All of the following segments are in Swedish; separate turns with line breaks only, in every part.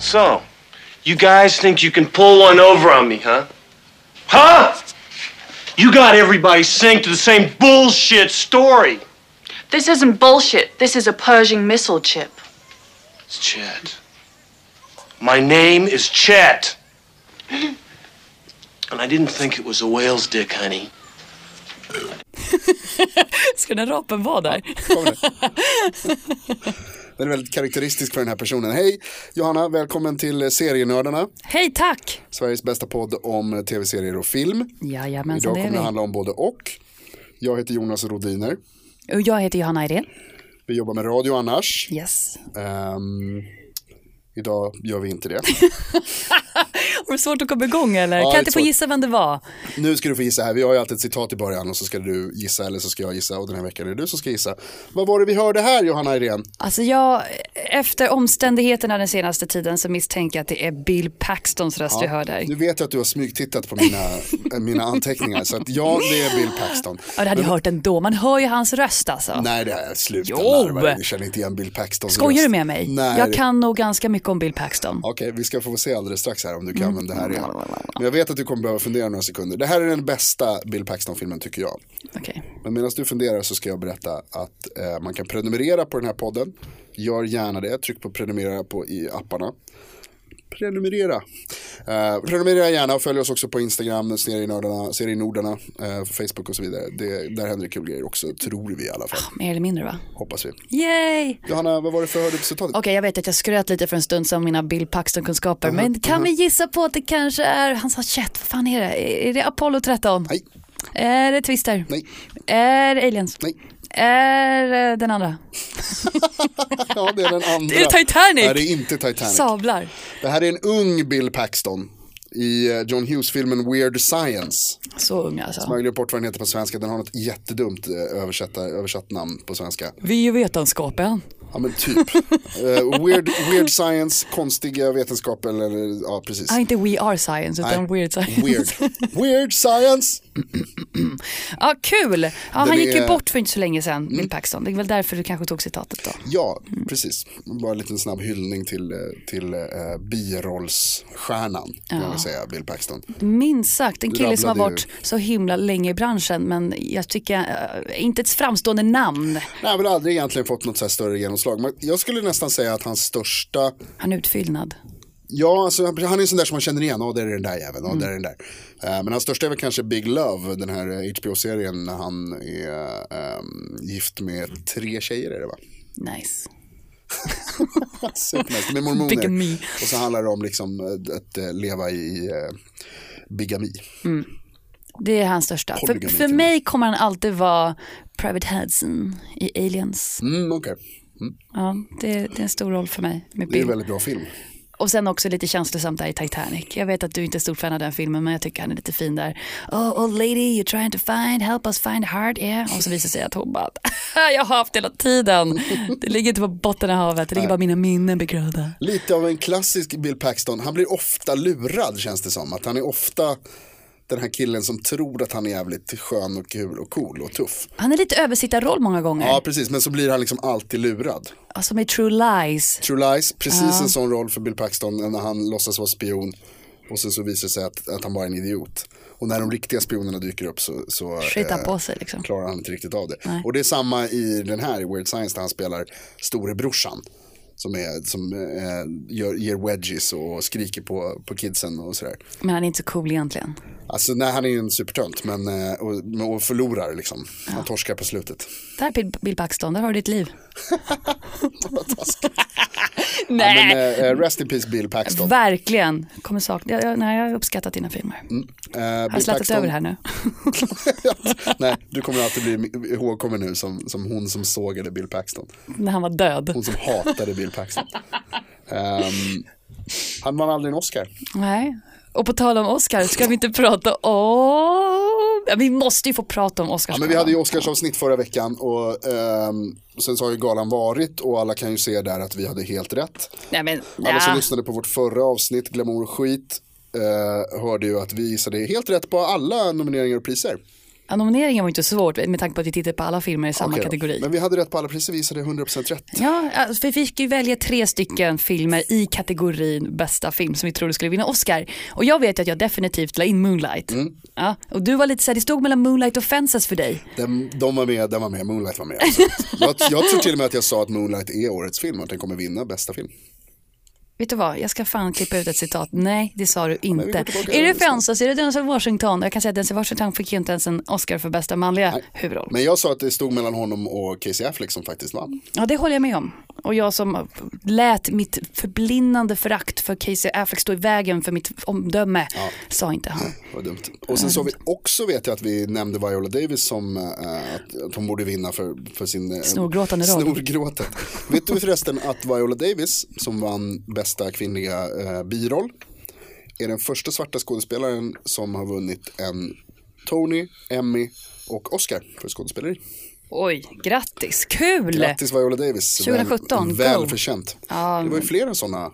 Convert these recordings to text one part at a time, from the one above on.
So, you guys think you can pull one over on me, huh? Huh? You got everybody synced to the same bullshit story.
This isn't bullshit. This is a Pershing missile chip.
It's Chet. My name is Chet. and I didn't think it was a whale's dick, honey.
Ska den här rapen vara där?
Den är väldigt karaktäristisk för den här personen. Hej Johanna, välkommen till Serienördarna,
Hej, tack!
Sveriges bästa podd om tv-serier och film.
Jajamensan,
Idag
det är
kommer det
vi.
handla om både och. Jag heter Jonas Rodiner.
Och jag heter Johanna Irene.
Vi jobbar med radio annars.
Yes.
Ehm, idag gör vi inte det.
Var det svårt att komma igång eller? kan
det
jag
är
inte få
svårt.
gissa vem det var?
Nu ska du få gissa här. Vi har ju alltid ett citat i början och så ska du gissa eller så ska jag gissa och den här veckan är det du som ska gissa. Vad var det vi hörde här Johanna Irene?
Alltså jag, efter omständigheterna den senaste tiden så misstänker jag att det är Bill Paxtons röst jag hör där.
Nu vet jag att du har smygtittat på mina, eh, mina anteckningar så att ja, det är Bill Paxton.
Ja, det hade jag hört ändå. Man hör ju hans röst alltså.
Nej det är slut.
Jo.
Jag känner inte igen Bill Paxton.
Skojar du med mig?
Nej.
Jag kan nog ganska mycket om Bill Paxton.
Okej, vi ska få se alldeles strax här om du
Mm.
kan vem det här är. Men jag vet att du kommer behöva fundera några sekunder. Det här är den bästa Bill Paxton-filmen tycker jag.
Okej.
Men medan du funderar så ska jag berätta att eh, man kan prenumerera på den här podden. Gör gärna det. Tryck på prenumerera på i apparna. Prenumerera. Eh, prenumerera gärna och följ oss också på Instagram, Serienördarna, Serienordarna, eh, Facebook och så vidare. Det, där händer det kul grejer också, tror vi i alla fall.
Mer eller mindre va?
Hoppas vi.
Yay!
Johanna, vad var det för hörde på citatet?
Okej, jag vet att jag skröt lite för en stund sedan om mina Bill Paxton-kunskaper, men kan vi gissa på att det kanske är, han sa shit, vad fan är det? Är det Apollo 13?
Nej,
Är det Twister?
nej,
Är det Aliens?
nej.
Är eh, den andra?
Ja, det är den andra.
Det är Titanic!
Nej, det är inte Titanic.
Sablar.
Det här är en ung Bill Paxton i eh, John Hughes-filmen Weird Science.
Så ung alltså.
Möjlig bort vad den heter på svenska, den har något jättedumt eh, översatta, översatt namn på svenska.
Vi är ju vetenskapen.
Ja men typ. Eh, weird, weird Science, konstiga vetenskaper eller ja precis.
Ah, inte We Are Science
Nej.
utan Weird Science.
Weird, weird Science.
Ja, kul. Ja, han
Den
gick ju
är- Mm.
bort för inte så länge sedan, Bill Paxton. Det är väl därför du kanske tog citatet då.
Ja, precis. Bara en liten snabb hyllning till, eh, till eh, birollsstjärnan, kan man väl säga, Bill Paxton.
Minst sagt, en kille som har
rabblade
varit så himla länge i branschen, men jag tycker, eh, inte ett framstående namn.
Nej, han har väl aldrig egentligen fått något så här större genomslag. Men jag skulle nästan säga att hans största
Han är utfyllnad.
Ja, alltså, han är en sån där som man känner igen. Ja, där är den där jäveln. Ja, där är den där. Eh, men hans största är väl kanske Big Love, den här eh, HBO-serien när han är ehm, gift med tre tjejer är det va?
Nice.
Supernice, med mormoner.
Bigami.
Och så handlar det om liksom eh, att eh, leva i eh, bigami.
Det är hans största. För,
Polygami
för
till och med.
mig kommer han alltid vara Private Hudson i Aliens.
Mm, okej.
Ja, det, det är en stor roll för mig med
Det är en
Bill.
väldigt bra film.
Och sen också lite känslosamt där i Titanic. Jag vet att du inte är stor fan av den filmen men jag tycker han är lite fin där. Oh old lady you're trying to find, help us find hard yeah. Och så visar det sig att hon bara, jag har haft hela tiden. Det ligger inte på botten av havet, det ligger bara mina minnen begravda.
Lite av en klassisk Bill Paxton. Han blir ofta lurad känns det som. Att han är ofta den här killen som tror att han är jävligt skön och kul och cool och tuff. Mm.
Han är lite översittarroll många gånger.
Ja, precis. Men så blir han liksom alltid lurad.
Som i True Lies.
True Lies, precis en sån roll för Bill Paxton när han låtsas vara spion och sen så visar det sig att, att han bara är en idiot. Och när de riktiga spionerna dyker upp så, så
Skita
eh,
på sig liksom.
klarar han inte riktigt av det.
Nej.
Och det är samma i den här, i Weird Science, där han spelar storebrorsan. Som, är, som eh, gör, ger wedgies och skriker på, på kidsen och sådär.
Men han är inte så cool egentligen.
Alltså nej, han är ju en supertönt men, eh, och, och förlorar liksom. Han torskar på slutet.
Där Bill- Bill Paxton, där har du ditt liv.
Ja,
Nej,
men, eh, rest in peace Bill Paxton.
verkligen. Kommer sakna. Jag, jag, nej, jag har uppskattat dina filmer.
Eh,
Har jag
Bill
slattat
Paxton-
över här nu?
Nej, du kommer alltid bli ihågkommen nu som, som hon som sågade Bill Paxton.
När han var död.
Hon som hatade Bill Paxton. Ehm, han vann aldrig en Oscar.
Nej. Och på tal om Oscar, ska vi inte prata om... Ja, vi måste ju få prata om Oscars.
Ja, men vi hade ju Oscarsavsnitt förra veckan och ehm, sen så har ju galan varit och alla kan ju se där att vi hade helt rätt.
Nej, men,
Alla som
ja.
lyssnade på vårt förra avsnitt, Glamour och skit, eh, hörde ju att vi gissade helt rätt på alla nomineringar och priser.
Ja, nomineringen var inte så svårt med tanke på att vi tittade på alla filmer i samma
Okej då.
kategori.
Men vi hade rätt på alla priser, vi visade 100% rätt.
Ja, alltså, vi fick ju välja tre stycken filmer i kategorin bästa film som vi trodde skulle vinna Oscar. Och jag vet ju att jag definitivt la in Moonlight.
Mm.
Ja, och du var lite såhär, det stod mellan Moonlight och Fences för dig.
Den, de var med, den var med, Moonlight var med. Alltså. jag, jag tror till och med att jag sa att Moonlight är årets film och att den kommer vinna bästa film.
Vet du vad, jag ska fan klippa ut ett citat. Nej, det sa du
vi
inte.
går tillbaka
Är det
till listan.
Fences, är det Denzel Washington? Jag kan säga att Denzel Washington fick ju inte ens en Oscar för bästa manliga huvudroll.
Men jag sa att det stod mellan honom och Casey Affleck som faktiskt vann.
Ja, det håller jag med om. Och jag som lät mitt förblindande förakt för Casey Affleck stå i vägen för mitt omdöme, sa inte han.
Vad dumt. Och sen så
Ehm.
vi också vet jag att vi nämnde Viola Davis som eh, att, att hon borde vinna för, för sin eh,
Snorgråtande roll.
Snorgråtet. vet du förresten att Viola Davis som vann bästa kvinnliga eh, biroll är den första svarta skådespelaren som har vunnit en Tony, Emmy och Oscar för skådespeleri.
Oj, grattis, kul!
Grattis Viola Davis.
2017,
Väl, väl
go.
förtjänt. det var ju flera sådana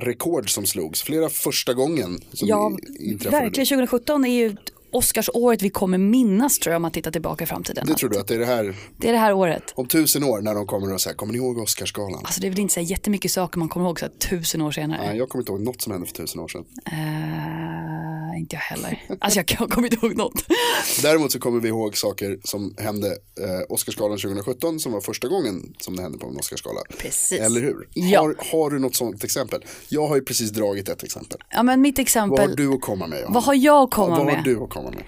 rekord som slogs. Flera första gången som
Ja,
i- inträffade.
verkligen. 2017 är ju Oscarsåret vi kommer minnas tror jag om man tittar tillbaka i framtiden.
Det tror du att det är det här
Det är det här året.
om tusen år när de kommer och säger, kommer ni ihåg Oscarsgalan?
Alltså det är väl inte så här jättemycket saker man kommer ihåg så här tusen år senare.
Nej, jag kommer inte ihåg något som hände för tusen år sedan.
Eh, inte jag heller. Alltså jag, jag kommer inte ihåg något.
Däremot så kommer vi ihåg saker som hände eh, Oscarsgalan 2017 som var första gången som det hände på en Oscarsgala.
Precis.
Eller hur?
Ja.
Har, har du något sånt exempel? Jag har ju precis dragit ett exempel.
Ja men mitt
Vad har
exempel.
du att komma med? Johanna?
Vad har jag att komma
ja, Vad har
med?
du att komma med?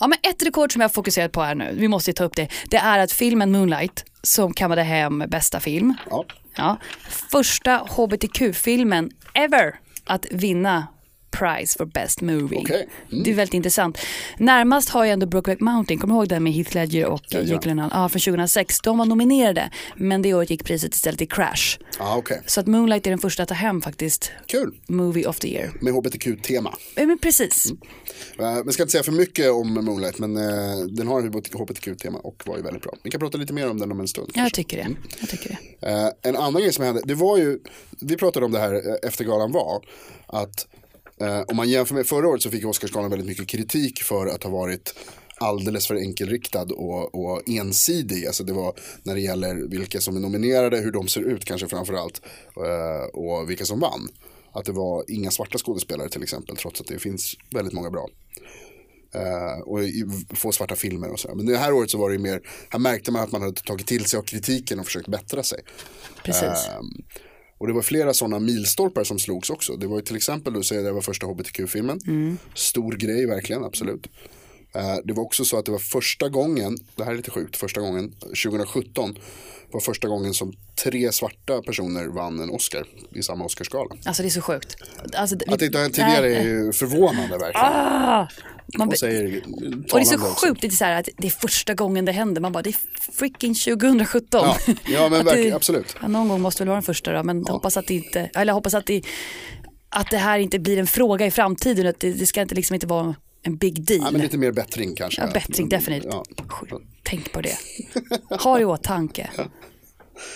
Ja, men ett rekord som jag har fokuserat på här nu, vi måste ju ta upp det, det är att filmen Moonlight som kammade hem bästa film,
Ja.
ja, första hbtq-filmen ever att vinna Prize for Best Movie.
Okej. Mm.
Det är väldigt intressant. Närmast har jag ändå Brokeback Mountain, kommer du ihåg den med Heath Ledger och ja, Jake Gyllenhaal? Ja, från 2006. De var nominerade, men det året gick priset istället till Crash.
Ja, okej.
Så att Moonlight är den första att ta hem faktiskt
Kul.
Movie of the Year.
Med hbtq-tema.
Ja, men precis.
Eh, Vi ska inte säga för mycket om Moonlight, men eh, den har hbtq-tema och var ju väldigt bra. Vi kan prata lite mer om den om en stund.
Jag
kanske.
tycker det. Jag tycker det.
Eh, en annan grej som hände, det var ju, vi pratade om det här eh, efter galan var, att eh, om man jämför med förra året så fick Oscarsgalan väldigt mycket kritik för att ha varit alldeles för enkelriktad och, och ensidig. Alltså det var när det gäller vilka som är nominerade, hur de ser ut kanske framför allt eh, och vilka som vann. Att det var inga svarta skådespelare till exempel trots att det finns väldigt många bra. Eh, och i- få svarta filmer och så. Men det här året så var det ju mer, här märkte man att man hade tagit till sig av kritiken och försökt bättra sig.
Precis.
Ehm, och det var flera sådana milstolpar som slogs också. Det var ju till exempel, du säger det var första hbtq-filmen.
Mm.
Stor grej verkligen, absolut. Eh, det var också så att det var första gången, det här är lite sjukt, första gången, 2017 var första gången som tre svarta personer vann en Oscar i samma Oscarsgala.
Alltså det är så sjukt. Alltså, vi-
Att det inte har hänt tidigare
Nej.
är ju förvånande verkligen.
Man,
Och, säger,
Och det är
talande
så
också.
sjukt, det är så här att det är första gången det händer. Man bara, det är freaking 2017.
Ja, ja, men
Att det-
verkligen, absolut.
Ja, någon gång måste väl vara den första då, men hoppas att det inte, eller jag hoppas att det, att det här inte blir en fråga i framtiden. Att det, det ska inte liksom inte vara en big deal.
Ja, men lite mer bättring kanske.
Ja, bättring, definitivt.
Ja.
Sjukt. Tänk på det. Ha det i åtanke.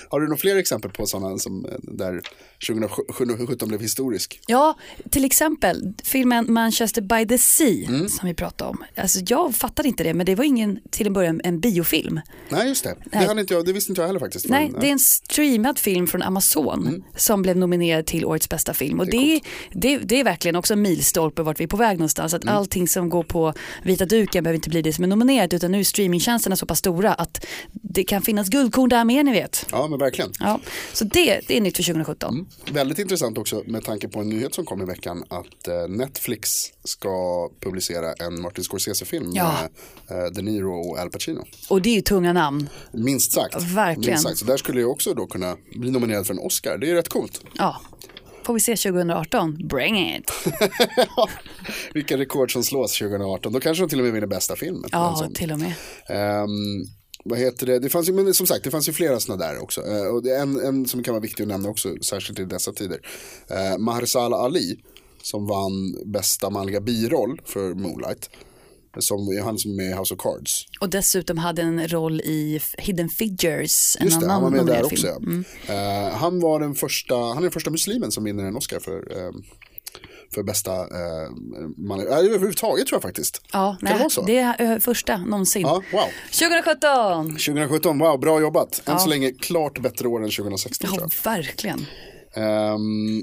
Har du några fler exempel på sådana som eh, där 2017 blev historisk?
Ja, till exempel filmen Manchester by the Sea
Mm.
som vi pratade om. Alltså, jag fattade inte det, men det var ingen, till en början, en biofilm.
Nej, just det. Det, hade inte jag, det visste inte jag heller faktiskt.
Nej,
Men,
det är
eh,
en streamad film från Amazon
Mm.
som blev nominerad till årets bästa film. Och det, är det, det är verkligen också en milstolpe vart vi är på väg någonstans.
Mm.
Att allting som går på vita duken behöver inte bli det som är nominerat utan nu är streamingtjänsterna så pass stora att det kan finnas guldkorn där med, ni vet.
Ja, men verkligen.
Ja, så det, det är nytt för 2017.
Mm. Väldigt intressant också med tanke på en nyhet som kom i veckan att eh, Netflix ska publicera en Martin Scorsese-film
Ja.
med eh, De Niro och Al Pacino.
Och det är ju tunga namn.
Minst sagt.
Verkligen.
Minst sagt. Så där skulle jag också då kunna bli nominerad för en Oscar. Det är ju rätt coolt.
Ja. Får vi se 2018? Bring it!
Vilka rekord som slås 2018. Då kanske de till och med vinner bästa filmen. En
Ja,
sån.
till och med.
Ehm, vad heter det? Det fanns ju, men som sagt, det fanns ju flera sådana där också. Eh, och det är en, en som kan vara viktig att nämna också, särskilt i dessa tider. Uh, Mahershala Ali, som vann bästa manliga biroll för Moonlight. Som är han som är med i House of Cards.
Och dessutom hade en roll i F- Hidden Figures, en
Just det,
annan
han var med där
nominerad
också.
film. Mm.
ja. Eh, han var den första, han är den första muslimen som vinner en Oscar för, eh, för bästa eh, manliga, ja, överhuvudtaget tror jag faktiskt.
Ja,
kan det vara så?
det är eh, första någonsin.
Ja, wow.
2017!
2017, wow, bra jobbat. Än så länge klart bättre år än 2016 tror
Ja,
jag.
verkligen.
Ehm,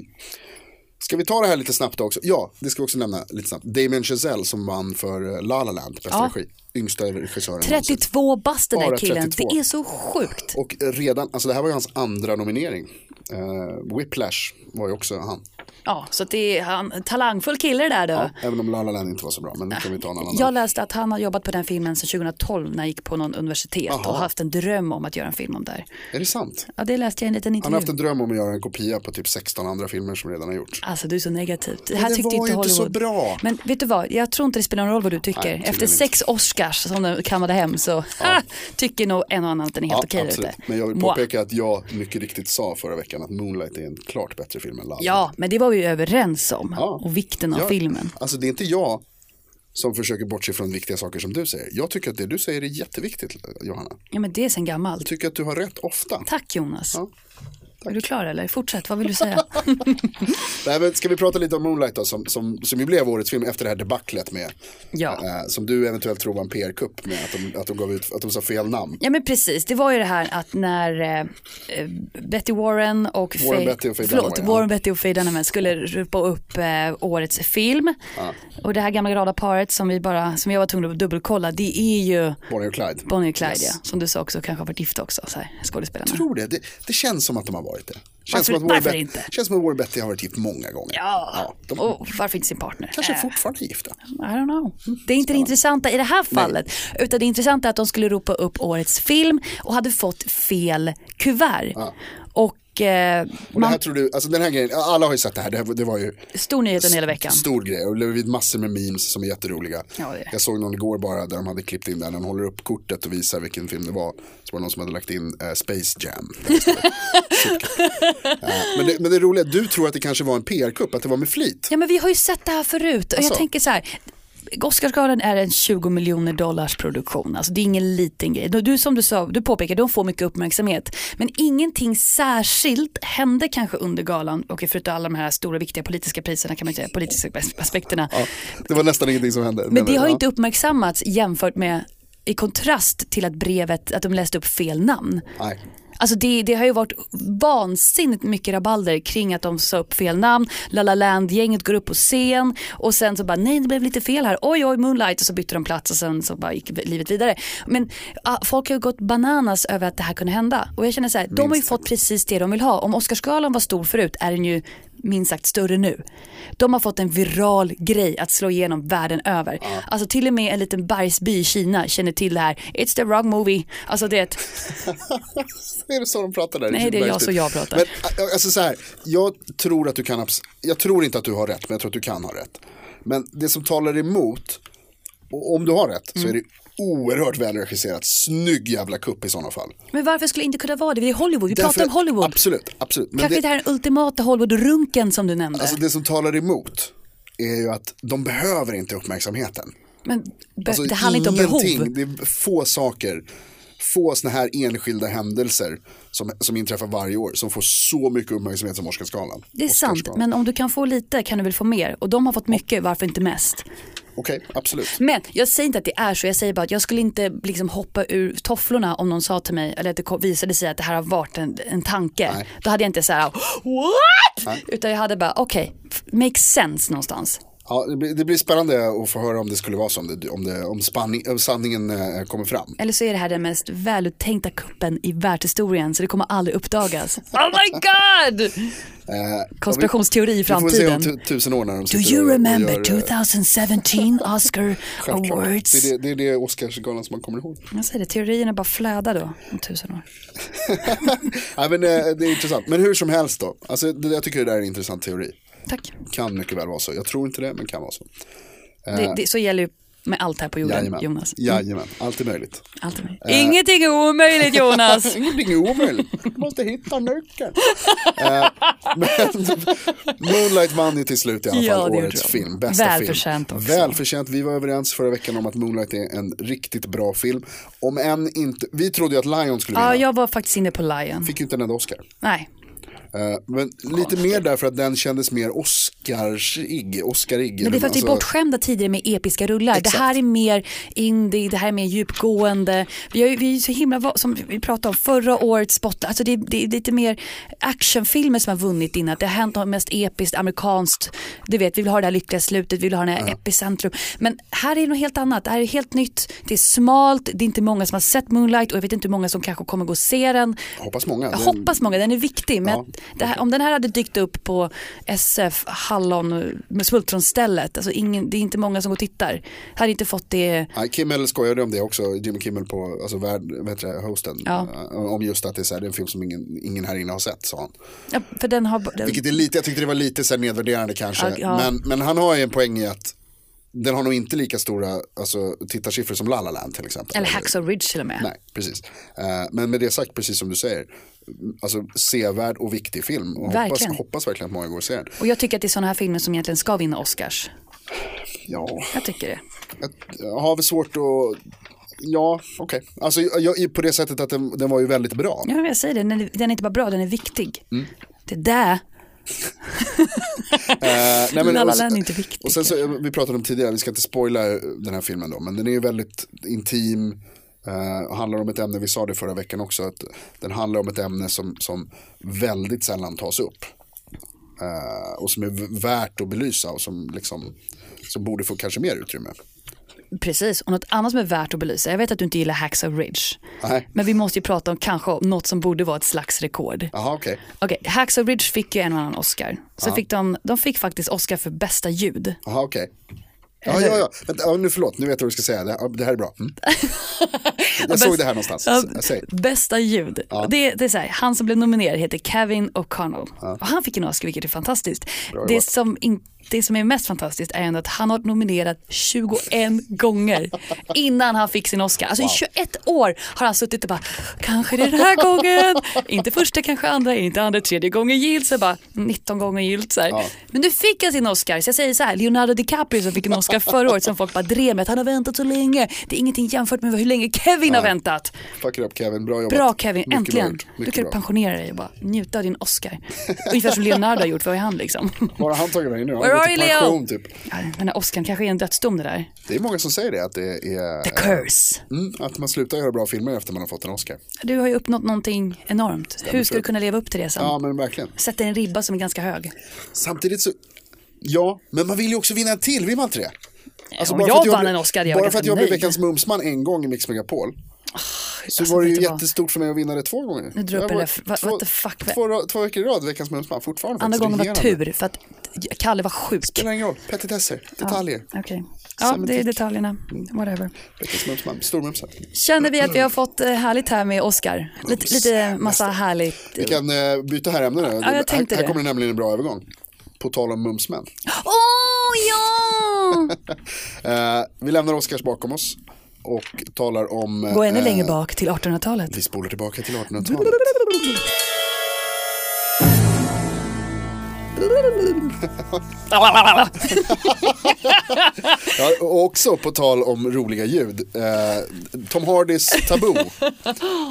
ska vi ta det här lite snabbt också? Ja, det ska vi också nämna lite snabbt. Damien Chazelle som vann för eh, La La Land, bästa
Ja.
regi. Yngsta regissören någonsin.
32 bast den
Bara
där killen.
32.
Det är så sjukt.
Och redan, alltså det här var ju hans andra nominering. Eh, Whiplash var ju också han.
Ja, så att det är han, talangfull kille det där då.
Även om La La Land inte var så bra, men det kan vi ta en annan
Jag
dag.
läste att han har jobbat på den filmen sedan 2012 när han gick på någon universitet och haft en dröm om att göra en film om det här.
Är det sant?
Ja, det läste jag i en liten
Han har
intervju.
haft en dröm om att göra en kopia på typ 16 andra filmer som redan har gjorts.
Alltså du är så negativ. Det här
det
tyckte
var
inte
ju
Hollywood.
inte så bra.
Men vet du vad, jag tror inte det spelar någon roll vad du tycker.
tydligen
Efter
inte.
sex Oscars som de kammade hem så tycker nog en och annan att den är helt okej där ute.
Men jag vill
Mwah.
påpeka att jag mycket riktigt sa förra veckan att Moonlight är en klart bättre film än La La Land.
Ja, men det var vi ju överens om.
Ja.
Och vikten av
Ja,
filmen.
Alltså det är inte jag som försöker bortse från viktiga saker som du säger. Jag tycker att det du säger är jätteviktigt, Johanna.
Ja, men det är sen gammalt.
Jag tycker att du har rätt ofta.
Tack Jonas.
Ja,
Är du klar eller? Fortsätt, vad vill du säga?
Nej, men ska vi prata lite om Moonlight då, som, som, som ju blev årets film efter det här debaclet med,
Ja.
eh, som du eventuellt tror var en PR-kupp med att de, att de gav ut, att de sa fel namn.
Ja men precis, det var ju det här att när eh, eh, Betty Warren och Faye,
Warren, Betty och Faye
förlåt,
Dunaway, ja.
Warren, Betty och Faye Dunaway skulle ropa upp eh, årets film. Och det här gamla glada paret som vi bara, som jag var tvungen att dubbelkolla, det är ju
Bonnie och Clyde.
Bonnie och Clyde ja, som du sa också kanske har varit gifta också, så här, skådespelarna.
Jag tror det. det. Det känns som att de har varit det. Känns
Varför-
som att Warren
varför
Bet-
inte?
Känns som att Warren Betty har varit gift många gånger.
Ja,
de
och varför inte sin partner?
kanske
Eh,
fortfarande är gifta.
I don't know. Det är inte det intressanta i det här fallet. Utan det intressanta är att de skulle ropa upp årets film och hade fått fel kuvert. Och, eh,
Och det
man,
här tror du, alltså den här grejen, alla har ju sett det här, det, här, var- det var ju
stor nyhet den hela veckan.
Stor grej och det blev massor med memes som är jätteroliga.
Ja, det är det.
Jag såg någon igår bara där de hade klippt in där, de håller upp kortet och visar vilken film det var. Så var det någon som hade lagt in eh, Space Jam. Där det stod. Eh, men, det, men det roliga, är att du tror att det kanske var en PR-kupp, att det var med flit.
Ja men vi har ju sett det här förut och
Alltså.
jag tänker så här. Oscarsgalan är en 20 miljoner dollars produktion, alltså det är ingen liten grej. Du som du sa, du påpekar, de får mycket uppmärksamhet. Men ingenting särskilt hände kanske under galan, och förutom alla de här stora viktiga politiska priserna kan man ju säga, politiska aspekterna.
Ja, det var nästan ingenting som hände.
Men det har
ja.
ju inte uppmärksammats jämfört med i kontrast till att brevet, att de läste upp fel namn.
Nej.
Alltså det, det har ju varit vansinnigt mycket rabalder kring att de sa upp fel namn, La La Land-gänget går upp på scen och sen så bara nej det blev lite fel här, oj oj Moonlight och så bytte de plats och sen så bara gick livet vidare. Men ah, folk har ju gått bananas över att det här kunde hända och jag känner så här, de har ju fått precis det de vill ha. Om Oscarsgalan var stor förut är den ju minst sagt större nu. De har fått en viral grej att slå igenom världen över. Alltså till och med en liten bergsby i Kina känner till det här, it's the wrong movie. Alltså det är ett
Är det så de pratar där?
Nej, det är jag så jag pratar.
Men, a- alltså så här, jag tror att du kan, abs- jag tror inte att du har rätt, men jag tror att du kan ha rätt. Men det som talar emot, och om du har rätt, så är
Mm.
det oerhört välregisserat, snygg jävla kupp i sådana fall.
Men varför skulle det inte kunna vara det? Vi är Hollywood, vi
Därför
pratar om
att-
Hollywood.
Absolut, absolut. Men
Kanske
det,
det här är den ultimata Hollywood-runken som du nämnde.
alltså det som talar emot är ju att de behöver inte uppmärksamheten.
men be-
Alltså,
det handlar inte om behov.
ingenting. Det är få saker, få såna här enskilda händelser som, som inträffar varje år som får så mycket uppmärksamhet som Oscarsgalan.
Det är sant,
Oscarsgalan.
men om du kan få lite kan du väl få mer. Och de har fått mycket, varför inte mest?
Okej, absolut.
Men jag säger inte att det är så, jag säger bara att jag skulle inte liksom hoppa ur tofflorna om någon sa till mig, eller att det kom- visade sig att det här har varit en, en tanke.
Nej.
Då hade jag inte så här, what? Utan jag hade bara, okej, f- makes sense någonstans.
Ja, det, blir, det blir spännande att få höra om det skulle vara så, om, det, om, det, om, spanning, om sanningen eh, kommer fram.
Eller så är det här den mest väluttänkta kuppen i världshistorien så det kommer aldrig uppdagas. Oh my god! Konspirationsteori i
Eh, Vi får se om
framtiden.
tu, tusen år när de
Do
sitter
you
och- och
remember
gör, eh,
2017 Oscar
självklart.
awards?
Det är det, det, är det Oscarsgalan som man kommer ihåg.
Jag säger det, teorierna bara flödar då om tusen år.
Nej, men, eh, det är intressant. Men hur som helst då. Alltså, det, jag tycker det där är en intressant teori.
Tack.
Kan mycket väl vara så. Jag tror inte det, men kan vara så.
Det, det, så gäller ju med allt här på jorden,
Eh, Jajamän. Eh,
Jonas. Mm.
Jajamän, allt är möjligt.
Allt är möjligt. Ingenting är omöjligt Jonas.
Ingenting är omöjligt. Du måste hitta nyckeln. Eh, men Moonlight vann ju till slut i alla fall
Ja, det gjorde
årets
de.
film. Bästa
Välförtjänt
film.
också.
Välförtjänt. Vi var överens förra veckan om att Moonlight är en riktigt bra film. Om än inte, vi trodde ju att Lion skulle vinna.
Ja, jag var faktiskt inne på Lion.
Fick ju inte en enda Oscar.
Nej,
Eh, Men lite mer därför att den kändes mer Oscar. Oscarsig, Oscarig. Alltså,
Men det är för att vi är bortskämda tidigare med episka rullar.
Exakt.
Det här är mer indie, det här är mer djupgående. Vi, har, ju- vi är ju så himla, va- som vi pratade om förra året, spot, alltså det, är- det är lite mer actionfilmer som har vunnit innan. Det har hänt något mest episkt, amerikanskt, du vet, vi vill ha det här lyckliga slutet, vi vill ha det här epicentrum. Men här är det något helt annat, det här är helt nytt, det är smalt, det är inte många som har sett Moonlight och jag vet inte hur många som kanske kommer gå och se den.
Hoppas många.
Jag
Den-
hoppas många, den är viktig. Men
Ja.
att det här, om den här hade dykt upp på SF Hallon med Smultronstället, alltså ingen, det är inte många som går och tittar. Hade inte fått det,
Nej, Kimmel skojade om det också, Jimmy Kimmel på, alltså värd, vet jag, hosten.
Ja.
Eh, Om just att det är, så här, det är en film som ingen, ingen här inne har sett, sa han.
ja, för den har... Den,
Vilket är lite, jag tyckte det var lite så här nedvärderande kanske.
Ja, ja.
Men, men han har ju en poäng i att den har nog inte lika stora alltså, tittarsiffror som La La Land till exempel.
eller Hacksaw Ridge till och med.
Nej, precis. Eh, Men med det sagt, precis som du säger, alltså sevärd och viktig film. Och
Verkligen.
Hoppas, hoppas verkligen att många går och ser den.
Och jag tycker att det är sådana här filmer som egentligen ska vinna Oscars.
Ja,
Jag tycker det.
jag, jag har väl svårt att... Ja, okej. Alltså jag, på det sättet att den, den var ju väldigt bra.
Ja, men jag säger det, den är, den är inte bara bra, den är viktig.
Mm.
Det där,
Eh, nej,
La La
och sen-
Land är inte viktig,
Och sen så, eh, vi pratade om tidigare, vi ska inte spoila eh, den här filmen då, men den är ju väldigt intim. eh, och handlar om ett ämne, vi sa det förra veckan också, att den handlar om ett ämne som, som väldigt sällan tas upp. Eh, och som är v- värt att belysa och som, liksom, som borde få kanske mer utrymme.
precis, och något annat som är värt att belysa. Jag vet att du inte gillar Hacksaw Ridge.
Nej.
Men vi måste ju prata om kanske något som borde vara ett slags rekord.
Jaha, okej.
Okej, Hacksaw Ridge fick ju en och annan Oscar. Så fick de, de fick faktiskt Oscar för bästa ljud.
Jaha, okej. Ja, ja, ja. Vänta, ja, nu förlåt, nu vet jag vad du ska säga. Det, ja, det här är bra. Mm. Jag såg det här någonstans.
Ja,
S- Säg.
Bästa ljud. Det, det är så här, han som blev nominerad heter Kevin O'Connell. Och han fick en Oscar vilket är fantastiskt. Det som, in, det som är mest fantastiskt är ändå att han har nominerat 21 gånger innan han fick sin Oscar. Alltså i 21 år har han suttit och bara, kanske det är den här gången. inte första, kanske andra, inte andra, tredje gången gillt. Så bara, 19 gånger gillt. Så här. Men nu fick han sin Oscar. Så jag säger så här, Leonardo DiCaprio som fick en Oscar förra året som folk bara drev med att han har väntat så länge. Det är ingenting jämfört med hur länge Kevin har väntat.
Fuck it up Kevin, bra jobbat.
Bra Kevin,
Mycket bra
äntligen.
gjort.
du
Mycket
kan
bra.
pensionera dig och bara njuta av din Oscar. Ungefär som Leonardo har gjort, vad är han liksom?
Var har han tagit vägen nu? Han
Where
har
are
gått
you,
i
Leo?
pension typ.
Ja, den här Oscarn kanske är en dödsdom det där.
Det är många som säger det, att det är...
The curse.
Mm, att man slutar göra bra filmer efter man har fått en Oscar.
Du har ju uppnått någonting enormt. Hur ska du kunna leva upp till det sen?
Ja, men verkligen.
Sätter en ribba som är ganska hög.
Samtidigt så... Ja, men man vill ju också vinna en till, vill man inte det? Alltså,
om
bara för
jag
att
vann
blev-
en Oscar, jag var
Bara för att
ganska
jag blev
nöjd.
Veckans Mumsman en gång i Mix Megapol. Så
alltså,
var det
vet
ju
du vad?
jättestort för mig att vinna det två gånger.
Nu drar
Jag
upp en
var-
ref- what-
två-
what the fuck, va?
Två, två veckor i rad Veckans Mumsman, fortfarande.
Andra
faktiskt
gången var
regerande.
tur för att Kalle var sjuk.
spelar ingen roll, petitesser, detaljer.
Okej, ja det är
Semantik.
detaljerna.
Mm.
Whatever.
Veckans Mumsman, Stormumsen.
Känner vi att vi har fått eh, härligt här med Oscar? Lite, lite massa härligt.
Vi kan eh, byta här ämnen.
jag tänkte
här,
det.
här kommer det nämligen en bra övergång. På tal om mumsmän.
Åh ja!
Eh, vi lämnar Oscars bakom oss och talar om... eh,
Gå ännu längre bak till 1800-talet.
Vi spolar tillbaka till 1800-talet. Ja, och också på tal om roliga ljud. Eh, Tom Hardys Taboo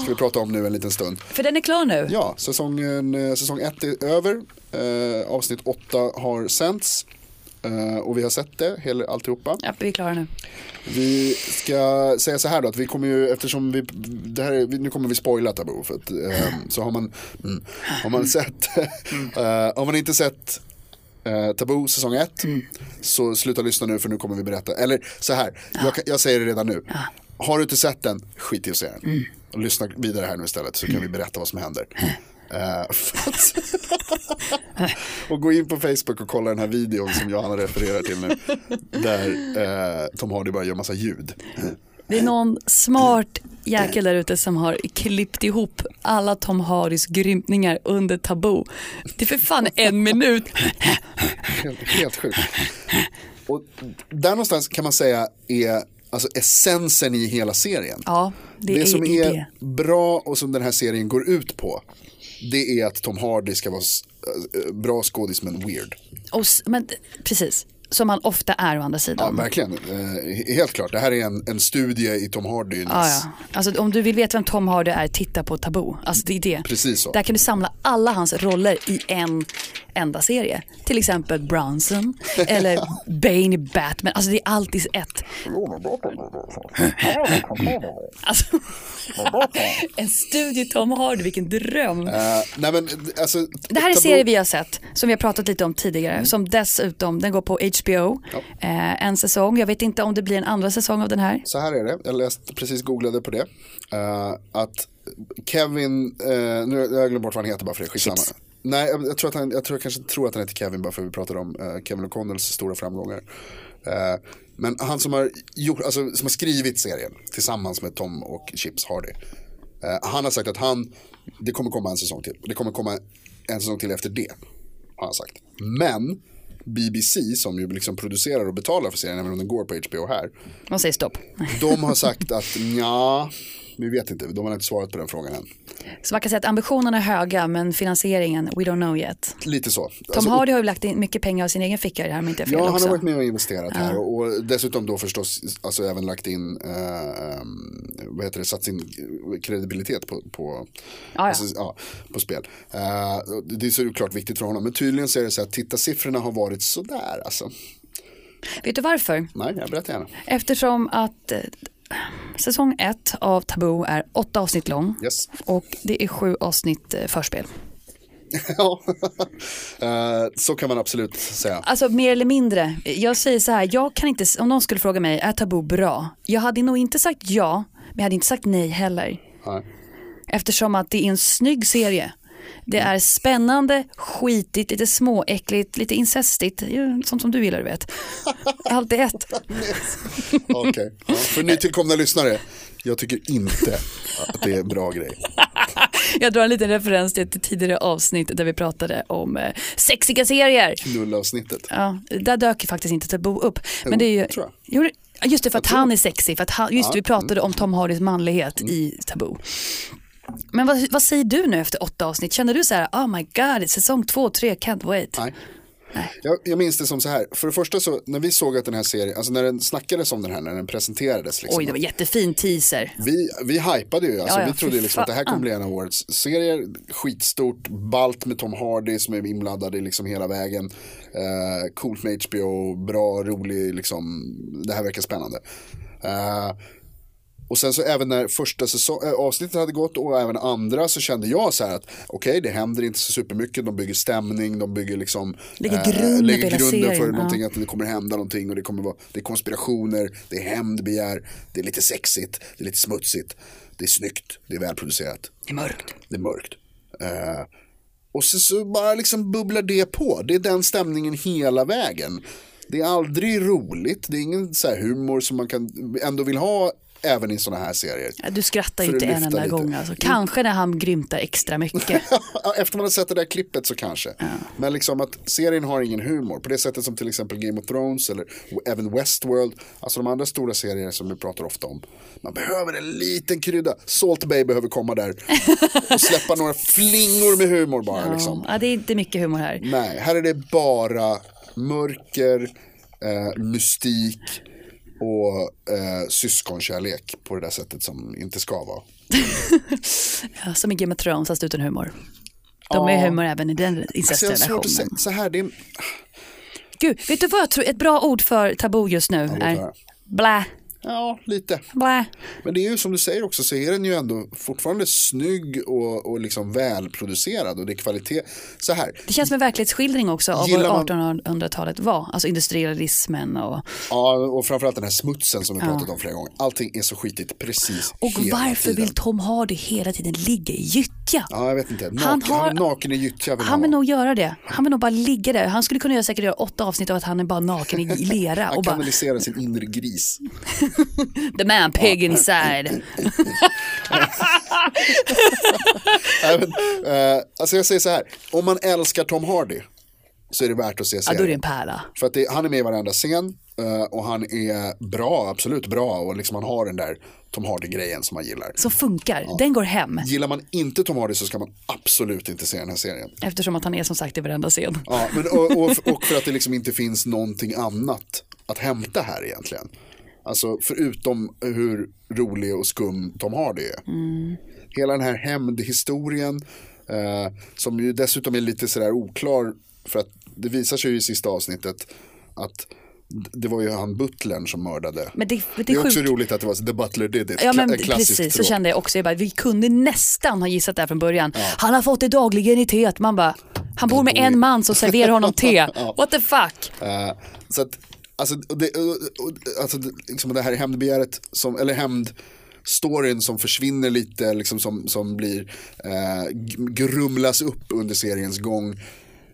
ska vi prata om nu en liten stund.
För den är klar nu.
Ja, säsongen, eh, säsong ett är över. Eh, avsnitt åtta har sänts. Eh, och vi har sett det, hela, alltihopa.
Ja, vi är klara nu.
Vi ska säga så här då, att vi kommer ju, eftersom vi, det här, är- vi- nu kommer vi spoila Taboo, för att, ehm, så har man, mm, har man sett, eh, har man inte sett eh, Taboo säsong 1, så sluta lyssna nu för nu kommer vi berätta, eller så här, jag, kan- jag säger det redan nu, har du inte sett den, skit i att se den. Och lyssna vidare här nu istället så kan vi berätta vad som händer. Eh, för att- och gå in på Facebook och kolla den här videon som Johanna refererar till nu. Där eh, Tom Hardy bara gör massa ljud.
Det är någon smart jäkel där ute som har klippt ihop alla Tom Hardys grymtningar under Taboo. Det är för fan en minut.
Helt, helt sjukt. Och där någonstans kan man säga är alltså essensen i hela serien.
Ja, det, är
som
ju
är
det.
bra och som den här serien går ut på. Det är att Tom Hardy ska vara s- eh, bra skådis men weird.
Och, s- men, precis. Som han ofta är å andra
Ja,
sidan.
verkligen. Eh, helt klart. Det här är en, en studie i Tom Hardys.
Ja, ja. Alltså, om du vill veta vem Tom Hardy är, titta på Taboo. Alltså, det är det.
Precis så.
Där kan du samla alla hans roller i en enda serie. Till exempel Bronson eller Bane i Batman. Alltså det är alltid ett. Alltså, en studie Tom Hardy, vilken dröm.
Eh, nej men alltså.
Det här är
Taboo- Mm.
serier vi har sett, som vi har pratat lite om tidigare, som dessutom, den går på HBO, eh, en säsong. Jag vet inte om det blir en andra säsong av den här.
Så här är det, jag läste, precis googlade på det. Eh, att Kevin, eh, nu har jag glömt bort vad han heter bara för det, skitsamma. Nej, jag, jag, tror att han, jag, tror, jag kanske tror att han heter Kevin bara för vi pratade om eh, Kevin O'Connells stora framgångar. Eh, men han som har, gjort, alltså, som har skrivit serien tillsammans med Tom och Chips Hardy. eh, han har sagt att han, det kommer komma en säsong till. Det kommer komma en säsong till efter det. Har han sagt. Men BBC som ju liksom producerar och betalar för serien även om den går på HBO här.
Man säger stopp.
De har sagt att ja, vi vet inte, de har inte svarat på den frågan än.
Så man kan säga att ambitionerna är höga, men finansieringen, we don't know yet.
Lite så. Alltså,
Tom Hardy har ju lagt in mycket pengar av sin egen ficka i det här om inte jag är fel
Ja, han
också.
har varit med och investerat här och, och dessutom då förstås alltså även lagt in, eh, ehm, vad heter det, satt sin eh, kredibilitet på, på,
ja.
alltså, ja, på spel. Eh, och det är såklart viktigt för honom, men tydligen så är det så att tittarsiffrorna har varit sådär alltså.
Vet du varför?
Nej, jag berättar gärna.
Eftersom att eh, säsong ett av Taboo är åtta avsnitt lång
Yes.
och det är sju avsnitt eh, förspel.
ja, Eh, så kan man absolut säga.
Alltså mer eller mindre, jag säger så här, jag kan inte, om någon skulle fråga mig, är Taboo bra? Jag hade nog inte sagt ja, men jag hade inte sagt nej heller.
Nej.
Eftersom att det är en snygg serie. Det
Mm.
är spännande, skitigt, lite småäckligt, lite incestigt, ju, sånt som du gillar du vet. Allt i ett.
Okej, ja, för nytillkomna lyssnare. Jag tycker inte att det är en bra grej.
Jag drar en liten referens till ett tidigare avsnitt där vi pratade om eh, sexiga serier.
Nullavsnittet.
Ja, där dök ju faktiskt inte Taboo upp. Men det är ju,
tror jag.
Jo, det- ja, just det, för att han är sexig. För att han, just det, vi pratade om Tom Hardys manlighet
Mm.
i Taboo. Men vad, vad säger du nu efter åtta avsnitt? Känner du så här, oh my god, säsong två, tre, can't wait.
Nej. Jag, jag minns det som så här. För det första så, när vi såg att den här serien, alltså när den snackades om den här, när den presenterades. Liksom,
Oj, det var jättefin teaser.
vi, vi hypade ju, alltså,
Ja, ja,
vi trodde
fy
liksom att det här kommer
fan.
bli en av årets serier. Skitstort, balt med Tom Hardy som är inblandad i liksom hela vägen. Eh, coolt med HBO, bra, rolig, liksom, det här verkar spännande. Eh, och sen så även när första säsong, äh, avsnittet hade gått och även andra så kände jag så här att okej det händer inte så supermycket, de bygger stämning, de bygger liksom
Lägger
eh,
grunden
lägger
för hela
grunden för
serien,
någonting,
ja.
att det kommer hända någonting och det kommer vara, det är konspirationer, det är hämndbegär, det är lite sexigt, det är lite smutsigt, det är snyggt, det är välproducerat,
Det är mörkt.
det är mörkt. Eh, och så, så bara liksom bubblar det på. Det är den stämningen hela vägen. Det är aldrig roligt. Det är ingen så här humor som man kan ändå vill ha även i sådana här serier.
Ja, Du skrattar ju
För att
inte en
lyfta
enda
lite.
gång. Alltså. Kanske när han grymtar extra mycket.
Ja, Efter man har sett det där klippet så kanske. Men liksom att serien har ingen humor. På det sättet som till exempel Game of Thrones eller även Westworld. Alltså de andra stora serier som vi pratar ofta om. Man behöver en liten krydda. Salt Bay behöver komma där. Och släppa några flingor med humor bara. Liksom. Mm.
Ja, det är inte mycket humor här.
Nej, här är det bara mörker, eh, mystik och eh, syskonkärlek på det där sättet som inte ska vara.
Ja, Som i Game of Thrones, fast utan humor. De är humor även i den
Så Alltså, jag har svårt att säga.
incestrelationen.
Så här, det är,
Gud, vet du vad jag tror? Ett bra ord för tabu just nu
låt höra.
är blä,
ja, lite.
blä.
Men det är ju som du säger också så är den ju ändå fortfarande snygg och, och liksom välproducerad och det är kvalitet. Så här,
Det känns som en verklighetsskildring också av
Gillar man-
vad 1800-talet var. Alltså industrialismen och...
ja, och framförallt den här smutsen som vi pratat om flera gånger. Allting är så skitigt precis
Och
hela
varför
tiden.
vill Tom Hardy hela tiden ligga i gyttja?
Ja, jag vet inte. Naken,
Han
han
har-
naken i gyttja vill
Han vill
vara.
nog göra det. Han vill nog bara ligga där. Han skulle kunna göra säkert göra åtta avsnitt av att han är bara naken i lera
Han
och bara
kanaliserar sin inre gris.
the man pig inside.
Nej, men, eh, alltså jag säger så här, om man älskar Tom Hardy så är det värt att se
Ja,
serien.
då är det en pärla.
För att det, han är med i varenda scen eh, och han är bra, absolut bra och liksom han har den där Tom Hardy-grejen som man gillar.
Som funkar. Den går hem.
Gillar man inte Tom Hardy så ska man absolut inte se den här serien.
Eftersom att han är som sagt i varenda scen.
Ja, men, och, och, och för att det liksom inte finns någonting annat att hämta här egentligen. Alltså förutom hur rolig och skum Tom Hardy är.
Mm.
Hela den här hämndhistorien eh, som ju dessutom är lite sådär oklar för att det visar sig ju i sista avsnittet att d- det var ju han butlern som mördade.
Men det, det
Det
är
är
sjukt.
också roligt att det var så, the butler did it.
Ja men
Kla- en klassisk
precis, så
tråd.
kände jag också. Jag bara, vi kunde nästan ha gissat det här från början. Han har fått det dagligen i teet. Man bara, han bor med
bor i-
en man som serverar honom te. What the fuck?
Eh, så att, alltså, och det, och- och- alltså det- liksom det här hämndbegäret, som, eller hämndstoryn som försvinner lite, liksom som, som blir, eh, g- grumlas upp under seriens gång.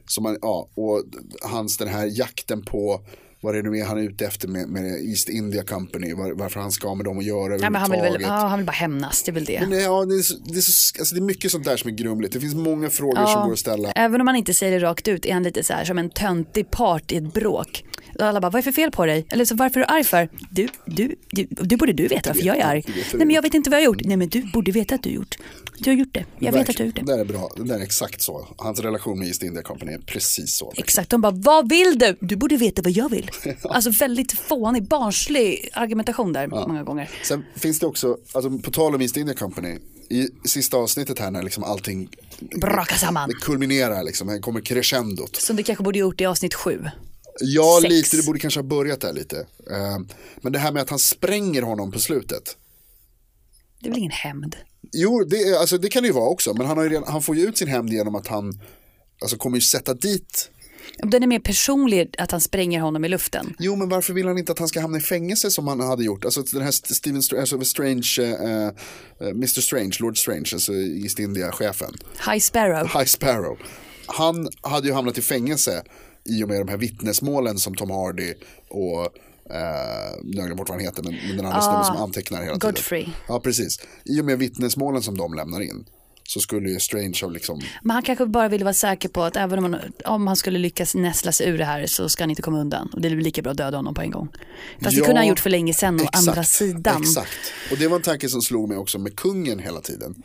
Som man, ja, och hans den här jakten på vad det nu är han är ute efter med, med East India Company, var, varför han ska ha med dem att göra
Ja, men han, vill väl,
överhuvudtaget.
ja, han vill bara hämnas, det är väl det.
Men ja, det, är så, det, är så, alltså det är mycket sånt där som är grumligt. Det finns många frågor som går att ställa.
Även om man inte säger det rakt ut är han lite så här som en töntig part i ett bråk. Och Alla bara, vad är för fel på dig? Eller så varför är du arg för? Du, du, du, det borde du veta varför jag är arg.
Du vet vad du
Nej men jag
gjort.
vet inte vad jag har gjort. Nej men du borde veta att du har gjort. Du har gjort det. Jag vet att du har gjort det.
Det där är bra, det där är exakt så. Hans relation med East India Company är precis så.
Exakt, de bara vad vill du? Du borde veta vad jag vill. Alltså väldigt fånig, barnslig argumentation där många gånger.
Sen finns det också, alltså på tal om East India Company, i sista avsnittet här när liksom allting
Brakar samman.
Det kulminerar liksom, här kommer crescendot.
Som du kanske borde gjort i avsnitt sju.
Ja,
Sex.
lite, det borde kanske ha börjat där lite. Eh, Men det här med att han spränger honom på slutet.
Det är väl ingen hämnd?
Jo, det, är- alltså, det kan det ju vara också, men han, har ju redan, han får ju ut sin hämnd genom att han alltså, kommer ju sätta dit
Om Den är mer personlig att han spränger honom i luften.
Jo, men varför vill han inte att han ska hamna i fängelse som han hade gjort? Alltså den här St- Stephen Str- alltså, Strange, eh, eh, Mr Strange, Lord Strange, alltså East India-chefen,
High Sparrow.
High Sparrow. Han hade ju hamnat i fängelse i och med de här vittnesmålen som Tom Hardy och eh, nu har jag glömt bort vad han heter, men, men den andra snubben som antecknar hela tiden.
Godfrey.
Ja, precis. I och med vittnesmålen som de lämnar in så skulle ju Strange ha liksom,
Men han kanske bara ville vara säker på att även om han, om han skulle lyckas näsla sig ur det här så ska han inte komma undan. Och det är väl lika bra att döda honom på en gång. Fast
Ja,
det kunde han gjort för länge sedan å
exakt,
andra sidan.
Exakt, och det var en tanke som slog mig också med kungen hela tiden.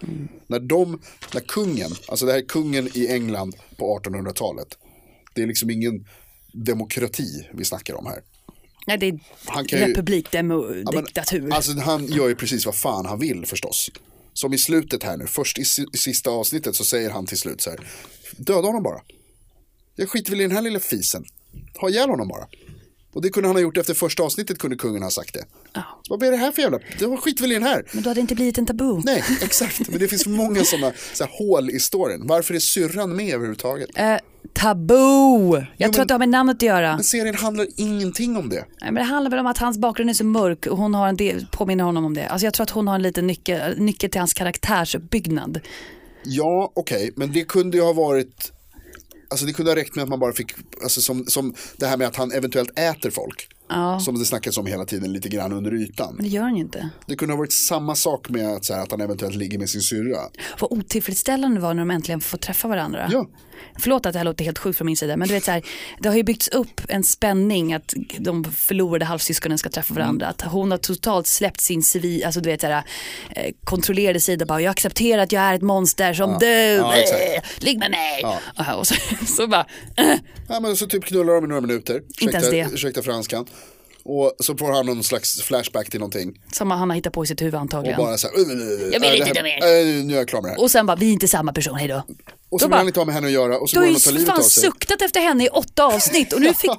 När de, när kungen, alltså det här är kungen i England på 1800-talet. Det är liksom ingen demokrati vi snackar om här.
Nej, det är
Han kan ju-
republik, demo,
Ja, men,
diktatur.
Alltså han gör ju precis vad fan han vill förstås. Som i slutet här nu, först i, si- i sista avsnittet så säger han till slut så här. Döda honom bara. Jag skiter väl i den här lilla fisen. Ha ihjäl honom bara. Och det kunde han ha gjort efter första avsnittet kunde kungen ha sagt det.
Ja.
Vad är det här för jävla, jag skiter väl i den här.
Men då hade det inte blivit en tabu.
Nej, exakt. Men det finns för många sådana så här, hål i storyn. Varför är syrran med överhuvudtaget?
Eh, tabu! Jag tror
men-
att det har med namnet att göra.
Men serien handlar ingenting om det.
Nej, men det handlar väl om att hans bakgrund är så mörk och hon har en del, påminner honom om det. Alltså jag tror att hon har en liten nyckel, nyckel till hans karaktärsuppbyggnad.
Ja, okej, men det kunde ju ha varit, alltså det kunde ha räckt med att man bara fick, alltså som, som det här med att han eventuellt äter folk.
Ja.
Som det snackas om hela tiden lite grann under ytan.
Men det gör han ju inte.
Det kunde ha varit samma sak med att, så här, att han eventuellt ligger med sin syrra.
Vad otillfredsställande det var när de äntligen får träffa varandra.
Ja.
Förlåt att det här låter helt sjukt från min sida, men du vet så här, det har ju byggts upp en spänning att de förlorade halvsyskonen ska träffa varandra.
Mm.
Att hon har totalt släppt sin civil, alltså du vet så här, eh, kontrollerade sida, bara jag accepterar att jag är ett monster som du,
Ja, exakt.
Eh, ligg med mig. Och så, så bara, eh,
Ja, men så typ knullar de i några minuter.
Inte ens
Ursäkta-
det.
Ursäkta franskan. Och så får han någon slags flashback till någonting.
som han har hittat på i sitt huvud
Och
antagligen.
bara så här, "Uh, uh, uh, uh,
Jag vill
äh,
inte
det
ta
här-
med.
äh, Nu är jag klar med det här.
Och sen bara, vi är inte samma person, hejdå.
Och
Då
så vill
bara-
han inte ha med henne att göra och så
Du
går
har
han och tar
ju
livet av
fan
sig.
suktat efter henne i åtta avsnitt och nu fick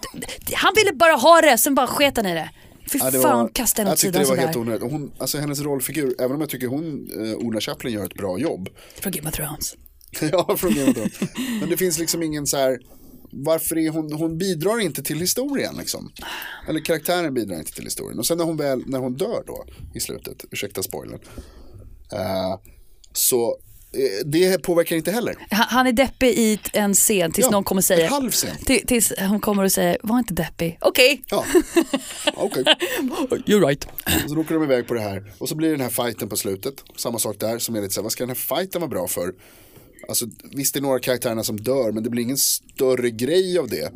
han ville bara ha det, sen bara sket han i det. Fy
Ja, det var-
fan, kasta henne
Jag
åt
tyckte
sidan
det var
sådär.
helt onödigt. Och Hon, alltså hennes rollfigur, även om jag tycker hon, eh, Ola Chaplin gör ett bra jobb.
Från Game of Thrones.
ja, från Game of Thrones. Men det finns liksom ingen så här, varför är hon, hon bidrar inte till historien liksom. Eller karaktären bidrar inte till historien. Och sen när hon väl, när hon dör då i slutet, ursäkta spoilern. Eh, så eh, det påverkar inte heller.
Han, han är deppig i t- en scen tills
Ja,
någon kommer och säger,
en halv scen.
Till- tills hon kommer och säger, var inte deppig, okej.
Ja, okej.
You're right.
Så då åker de iväg på det här och så blir det den här fighten på slutet. Samma sak där som är lite så här, vad ska den här fighten vara bra för? Alltså, visst, det är några karaktärerna som dör, men det blir ingen större grej av det.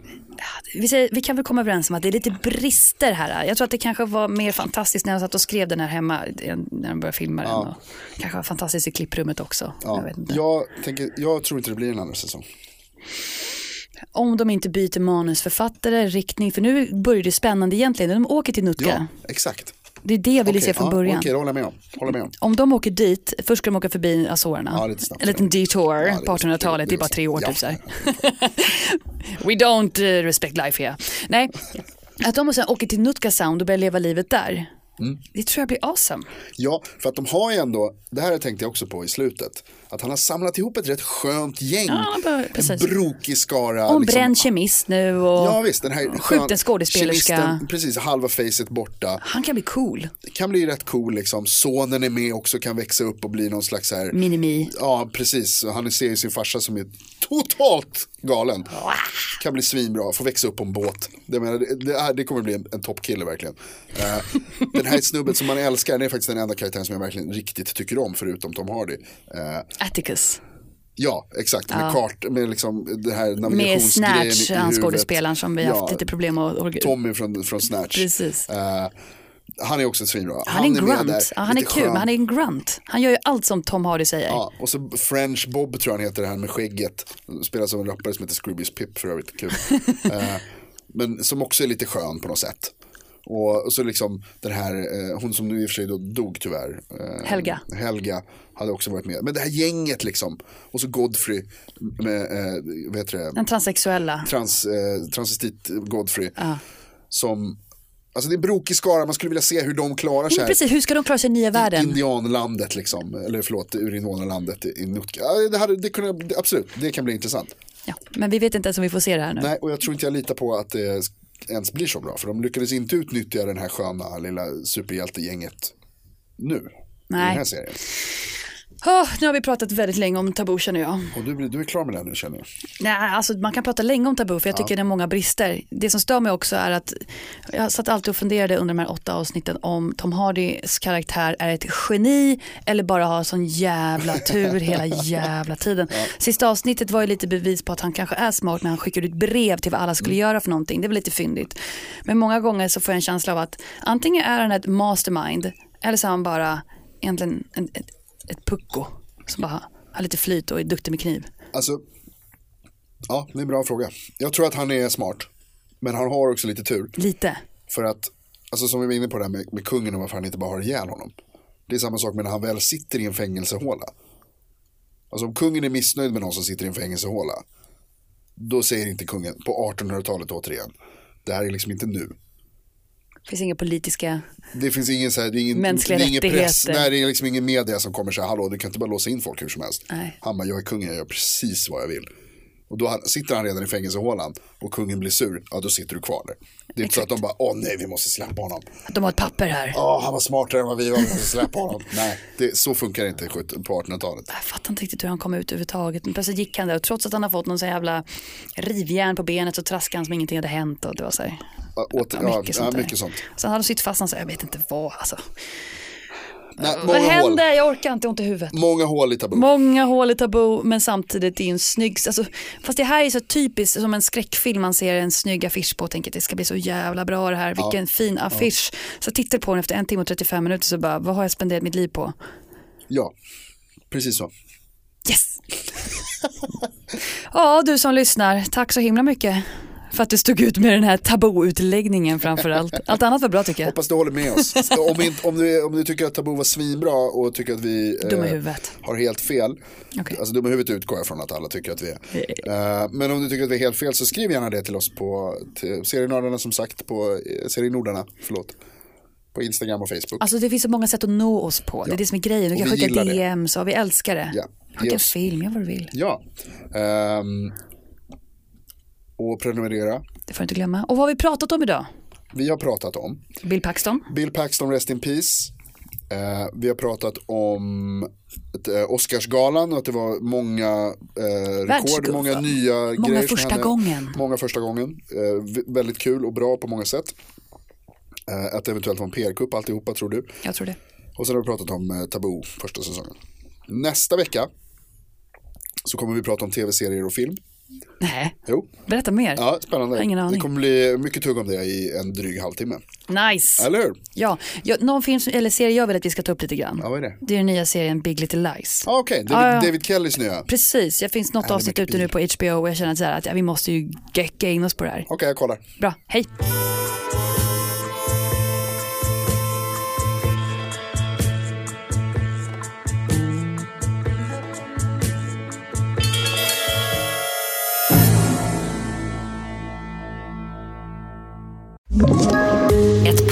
Vi, säger, vi kan väl komma överens om att det är lite brister här. Jag tror att det kanske var mer fantastiskt när jag satt och skrev den här hemma, när de började filma den. Och kanske var fantastiskt i klipprummet också. Jag
Ja.
vet inte.
Jag, tänker, jag tror inte det blir en andra säsong.
Om de inte byter manusförfattare, riktning, för nu börjar det spännande egentligen. De åker till Nutka.
Ja, exakt.
Det är det jag ville
Okej,
se från
ja,
början.
Okej, det håller jag med om. Håller jag med om.
Om de åker dit, först ska de åka förbi Azorerna.
Ja, lite snabbt.
en liten detour
Ja, det-
på 1800-talet, det är bara tre år
Ja.
typ så här. We don't eh, respect life here. Nej, att de och sen åker till Nutka Sound och börjar leva livet där.
Mm.
Det tror jag blir awesome.
Ja, för att de har ju ändå, det här tänkte jag också på i slutet, att han har samlat ihop ett rätt skönt gäng.
Ja, bara-
en
precis.
brokig skara.
Och en bränd kemist nu och
liksom. Ja visst, den här skön-
skjuten skådespelerska.
kemisten, Precis, halva facet borta.
Han kan bli cool.
Det kan bli rätt cool liksom. Sonen är med också, kan växa upp och bli någon slags så här.
Minimi.
Ja, precis. Han ser ju sin farsa som är totalt galen. Kan bli svinbra, får växa upp på en båt. Det, menar, det, det, här, det kommer bli en, en toppkille verkligen. Eh, den här snubben som man älskar, det är faktiskt den enda karaktären som jag verkligen riktigt tycker om, förutom Tom Hardy. Eh,
Atticus.
ja, exakt. Med kart, med liksom det här
Med
navigationsgrejen i- i
Snatch, han
huvudet.
skådespelaren som vi har haft
Ja,
lite problem med. att-
Tommy från, från Snatch.
Precis.
Eh, han är också svinbra.
Han är en
med
grunt.
där,
Ja, han är
lite
kul,
skön.
men han är en grunt. Han gör ju allt som Tom Hardy säger.
Ja, och så French Bob tror jag han heter, det här med skägget. Spelas av en rappare som heter Scroobius Pip för övrigt, kul. eh, men som också är lite skön på något sätt. Och, och så liksom den här, eh, hon som nu i och för sig då dog tyvärr. Eh,
Helga.
Helga hade också varit med. Men det här gänget liksom. Och så Godfrey med, eh, vad heter det?
Den transsexuella.
trans, eh, transvestit Godfrey. Som, alltså det är en brokig skara, man skulle vilja se hur de klarar sig.
Ja,
här.
precis, hur ska de klara sig i nya världen?
Indianlandet liksom, eller förlåt, urinvånarlandet i Nutka. Ja, Det, hade, det kunde, det- absolut, det kan bli intressant.
Ja, men vi vet inte ens om vi får se det här nu.
Nej, och jag tror inte jag litar på att det ens blir så bra, för de lyckades inte utnyttja den här sköna lilla superhjältegänget nu. I den här
Nej.
serien.
Åh, nu har vi pratat väldigt länge om Tabu känner jag.
Och du, blir- du är klar med den nu känner jag.
Nej, alltså, man kan prata länge om Tabu för jag tycker det är många brister. Det som stör mig också är att jag satt alltid och funderade under de här åtta avsnitten om Tom Hardys karaktär är ett geni eller bara har sån jävla tur hela jävla tiden. Sista avsnittet var ju lite bevis på att han kanske är smart när han skickar ut brev till vad alla skulle göra för någonting. Det var lite fyndigt. Men många gånger så får jag en känsla av att antingen är han ett mastermind eller så är han bara egentligen en, ett, ett pucko som bara har lite flyt och är duktig med kniv.
Alltså, ja, det är en bra fråga. Jag tror att han är smart, men han har också lite tur.
Lite.
För att, alltså som vi var inne på det här med, med kungen och varför han inte bara har ihjäl honom. Det är samma sak med när han väl sitter i en fängelsehåla. Alltså om kungen är missnöjd med någon som sitter i en fängelsehåla. Då säger inte kungen, på 1800-talet återigen. Det här är liksom inte nu.
finns inga politiska...
Det finns ingen, så här, det är ingen,
Mänskliga
det är ingen press,
rättigheter.
nej, det är liksom ingen media som kommer så här, hallå du kan inte bara låsa in folk hur som helst.
Nej.
Han bara, jag är kungen, jag gör precis vad jag vill. Och då han, sitter han redan i fängelsehålan och kungen blir sur, ja då sitter du kvar där. Det är inte så att de bara, åh nej vi måste släppa honom.
De har ett papper här.
Ja, han var smartare än vad vi var, vi måste släppa honom. Nej, det, så funkar det inte i sjut- på 1800-talet.
Jag fattar inte riktigt hur han kom ut överhuvudtaget. Men plötsligt gick han där och trots att han har fått någon så jävla rivjärn på benet så traskade han som ingenting hade hänt. Och det var så här,
Ja, åter,
ja,
ja,
mycket
ja,
sånt där.
mycket sånt.
Sen hade de sytt fast han så här, jag vet inte vad. Alltså.
Nej,
Vad
många, hål,
händer? Jag orkar inte, ont i huvudet.
många hål i tabu.
Många hål i tabu men samtidigt det är en snygg, alltså, fast det här är så typiskt som en skräckfilm man ser en snygg affisch på och tänker att det ska bli så jävla bra det här, vilken fin affisch. Så tittar jag på den efter en timme och 35 minuter så bara, vad har jag spenderat mitt liv på?
Ja, precis så.
Yes! ja, du som lyssnar, tack så himla mycket för att du stod ut med den här tabuutläggningen framför allt. Allt annat var bra tycker jag.
Hoppas du håller med oss. Så Om, inte, om, du, om du tycker att Tabu var svinbra och tycker att vi eh,
Dumma i huvudet.
har helt fel.
Okej.
Alltså dumma i huvudet utgår jag från att alla tycker att vi är. Eh, men om du tycker att vi är helt fel så skriv gärna det till oss på till serienördarna som sagt, på eh, serienordarna, förlåt. På Instagram och Facebook.
Alltså det finns så många sätt att nå oss på, det är det som är grejen. Du
Och
kan
vi
skicka
gillar det.
DM, så vi älskar det.
Ja. Ge
Skicka
oss-
film, gör vad du vill.
Ja. Ehm, och prenumerera.
Det får du inte glömma. Och vad har vi pratat om idag?
Vi har pratat om
Bill Paxton.
Bill Paxton Rest in Peace. Eh, vi har pratat om ett, eh, Oscarsgalan och att det var många eh, rekord,
Världsguld,
många
va?
nya
Många
grejer. som
första
hände.
gången.
Många första gången. Eh, v- väldigt kul och bra på många sätt. Eh, att det eventuellt var en PR-kupp alltihopa tror du.
Jag tror det.
Och sen har vi pratat om eh, Taboo första säsongen. Nästa vecka så kommer vi prata om tv-serier och film.
Nej,
Jo,
berätta mer.
ja, spännande.
har ingen
det
aning.
kommer bli mycket tugg om det i en dryg halvtimme.
Nice.
Eller hur?
Ja, ja, någon film som, eller serie jag vill att vi ska ta upp lite grann.
Ja, vad är det?
Det är den nya serien Big Little Lies.
Ah, Okej,
Ja, ja.
David, David Kellys nya. Okej,
Precis, det finns något
Ally
avsnitt ute
McBeal.
nu på HBO och jag känner att, så här, att ja, vi måste ju gecka in oss på det här.
jag kollar.
Bra, hej.
Ett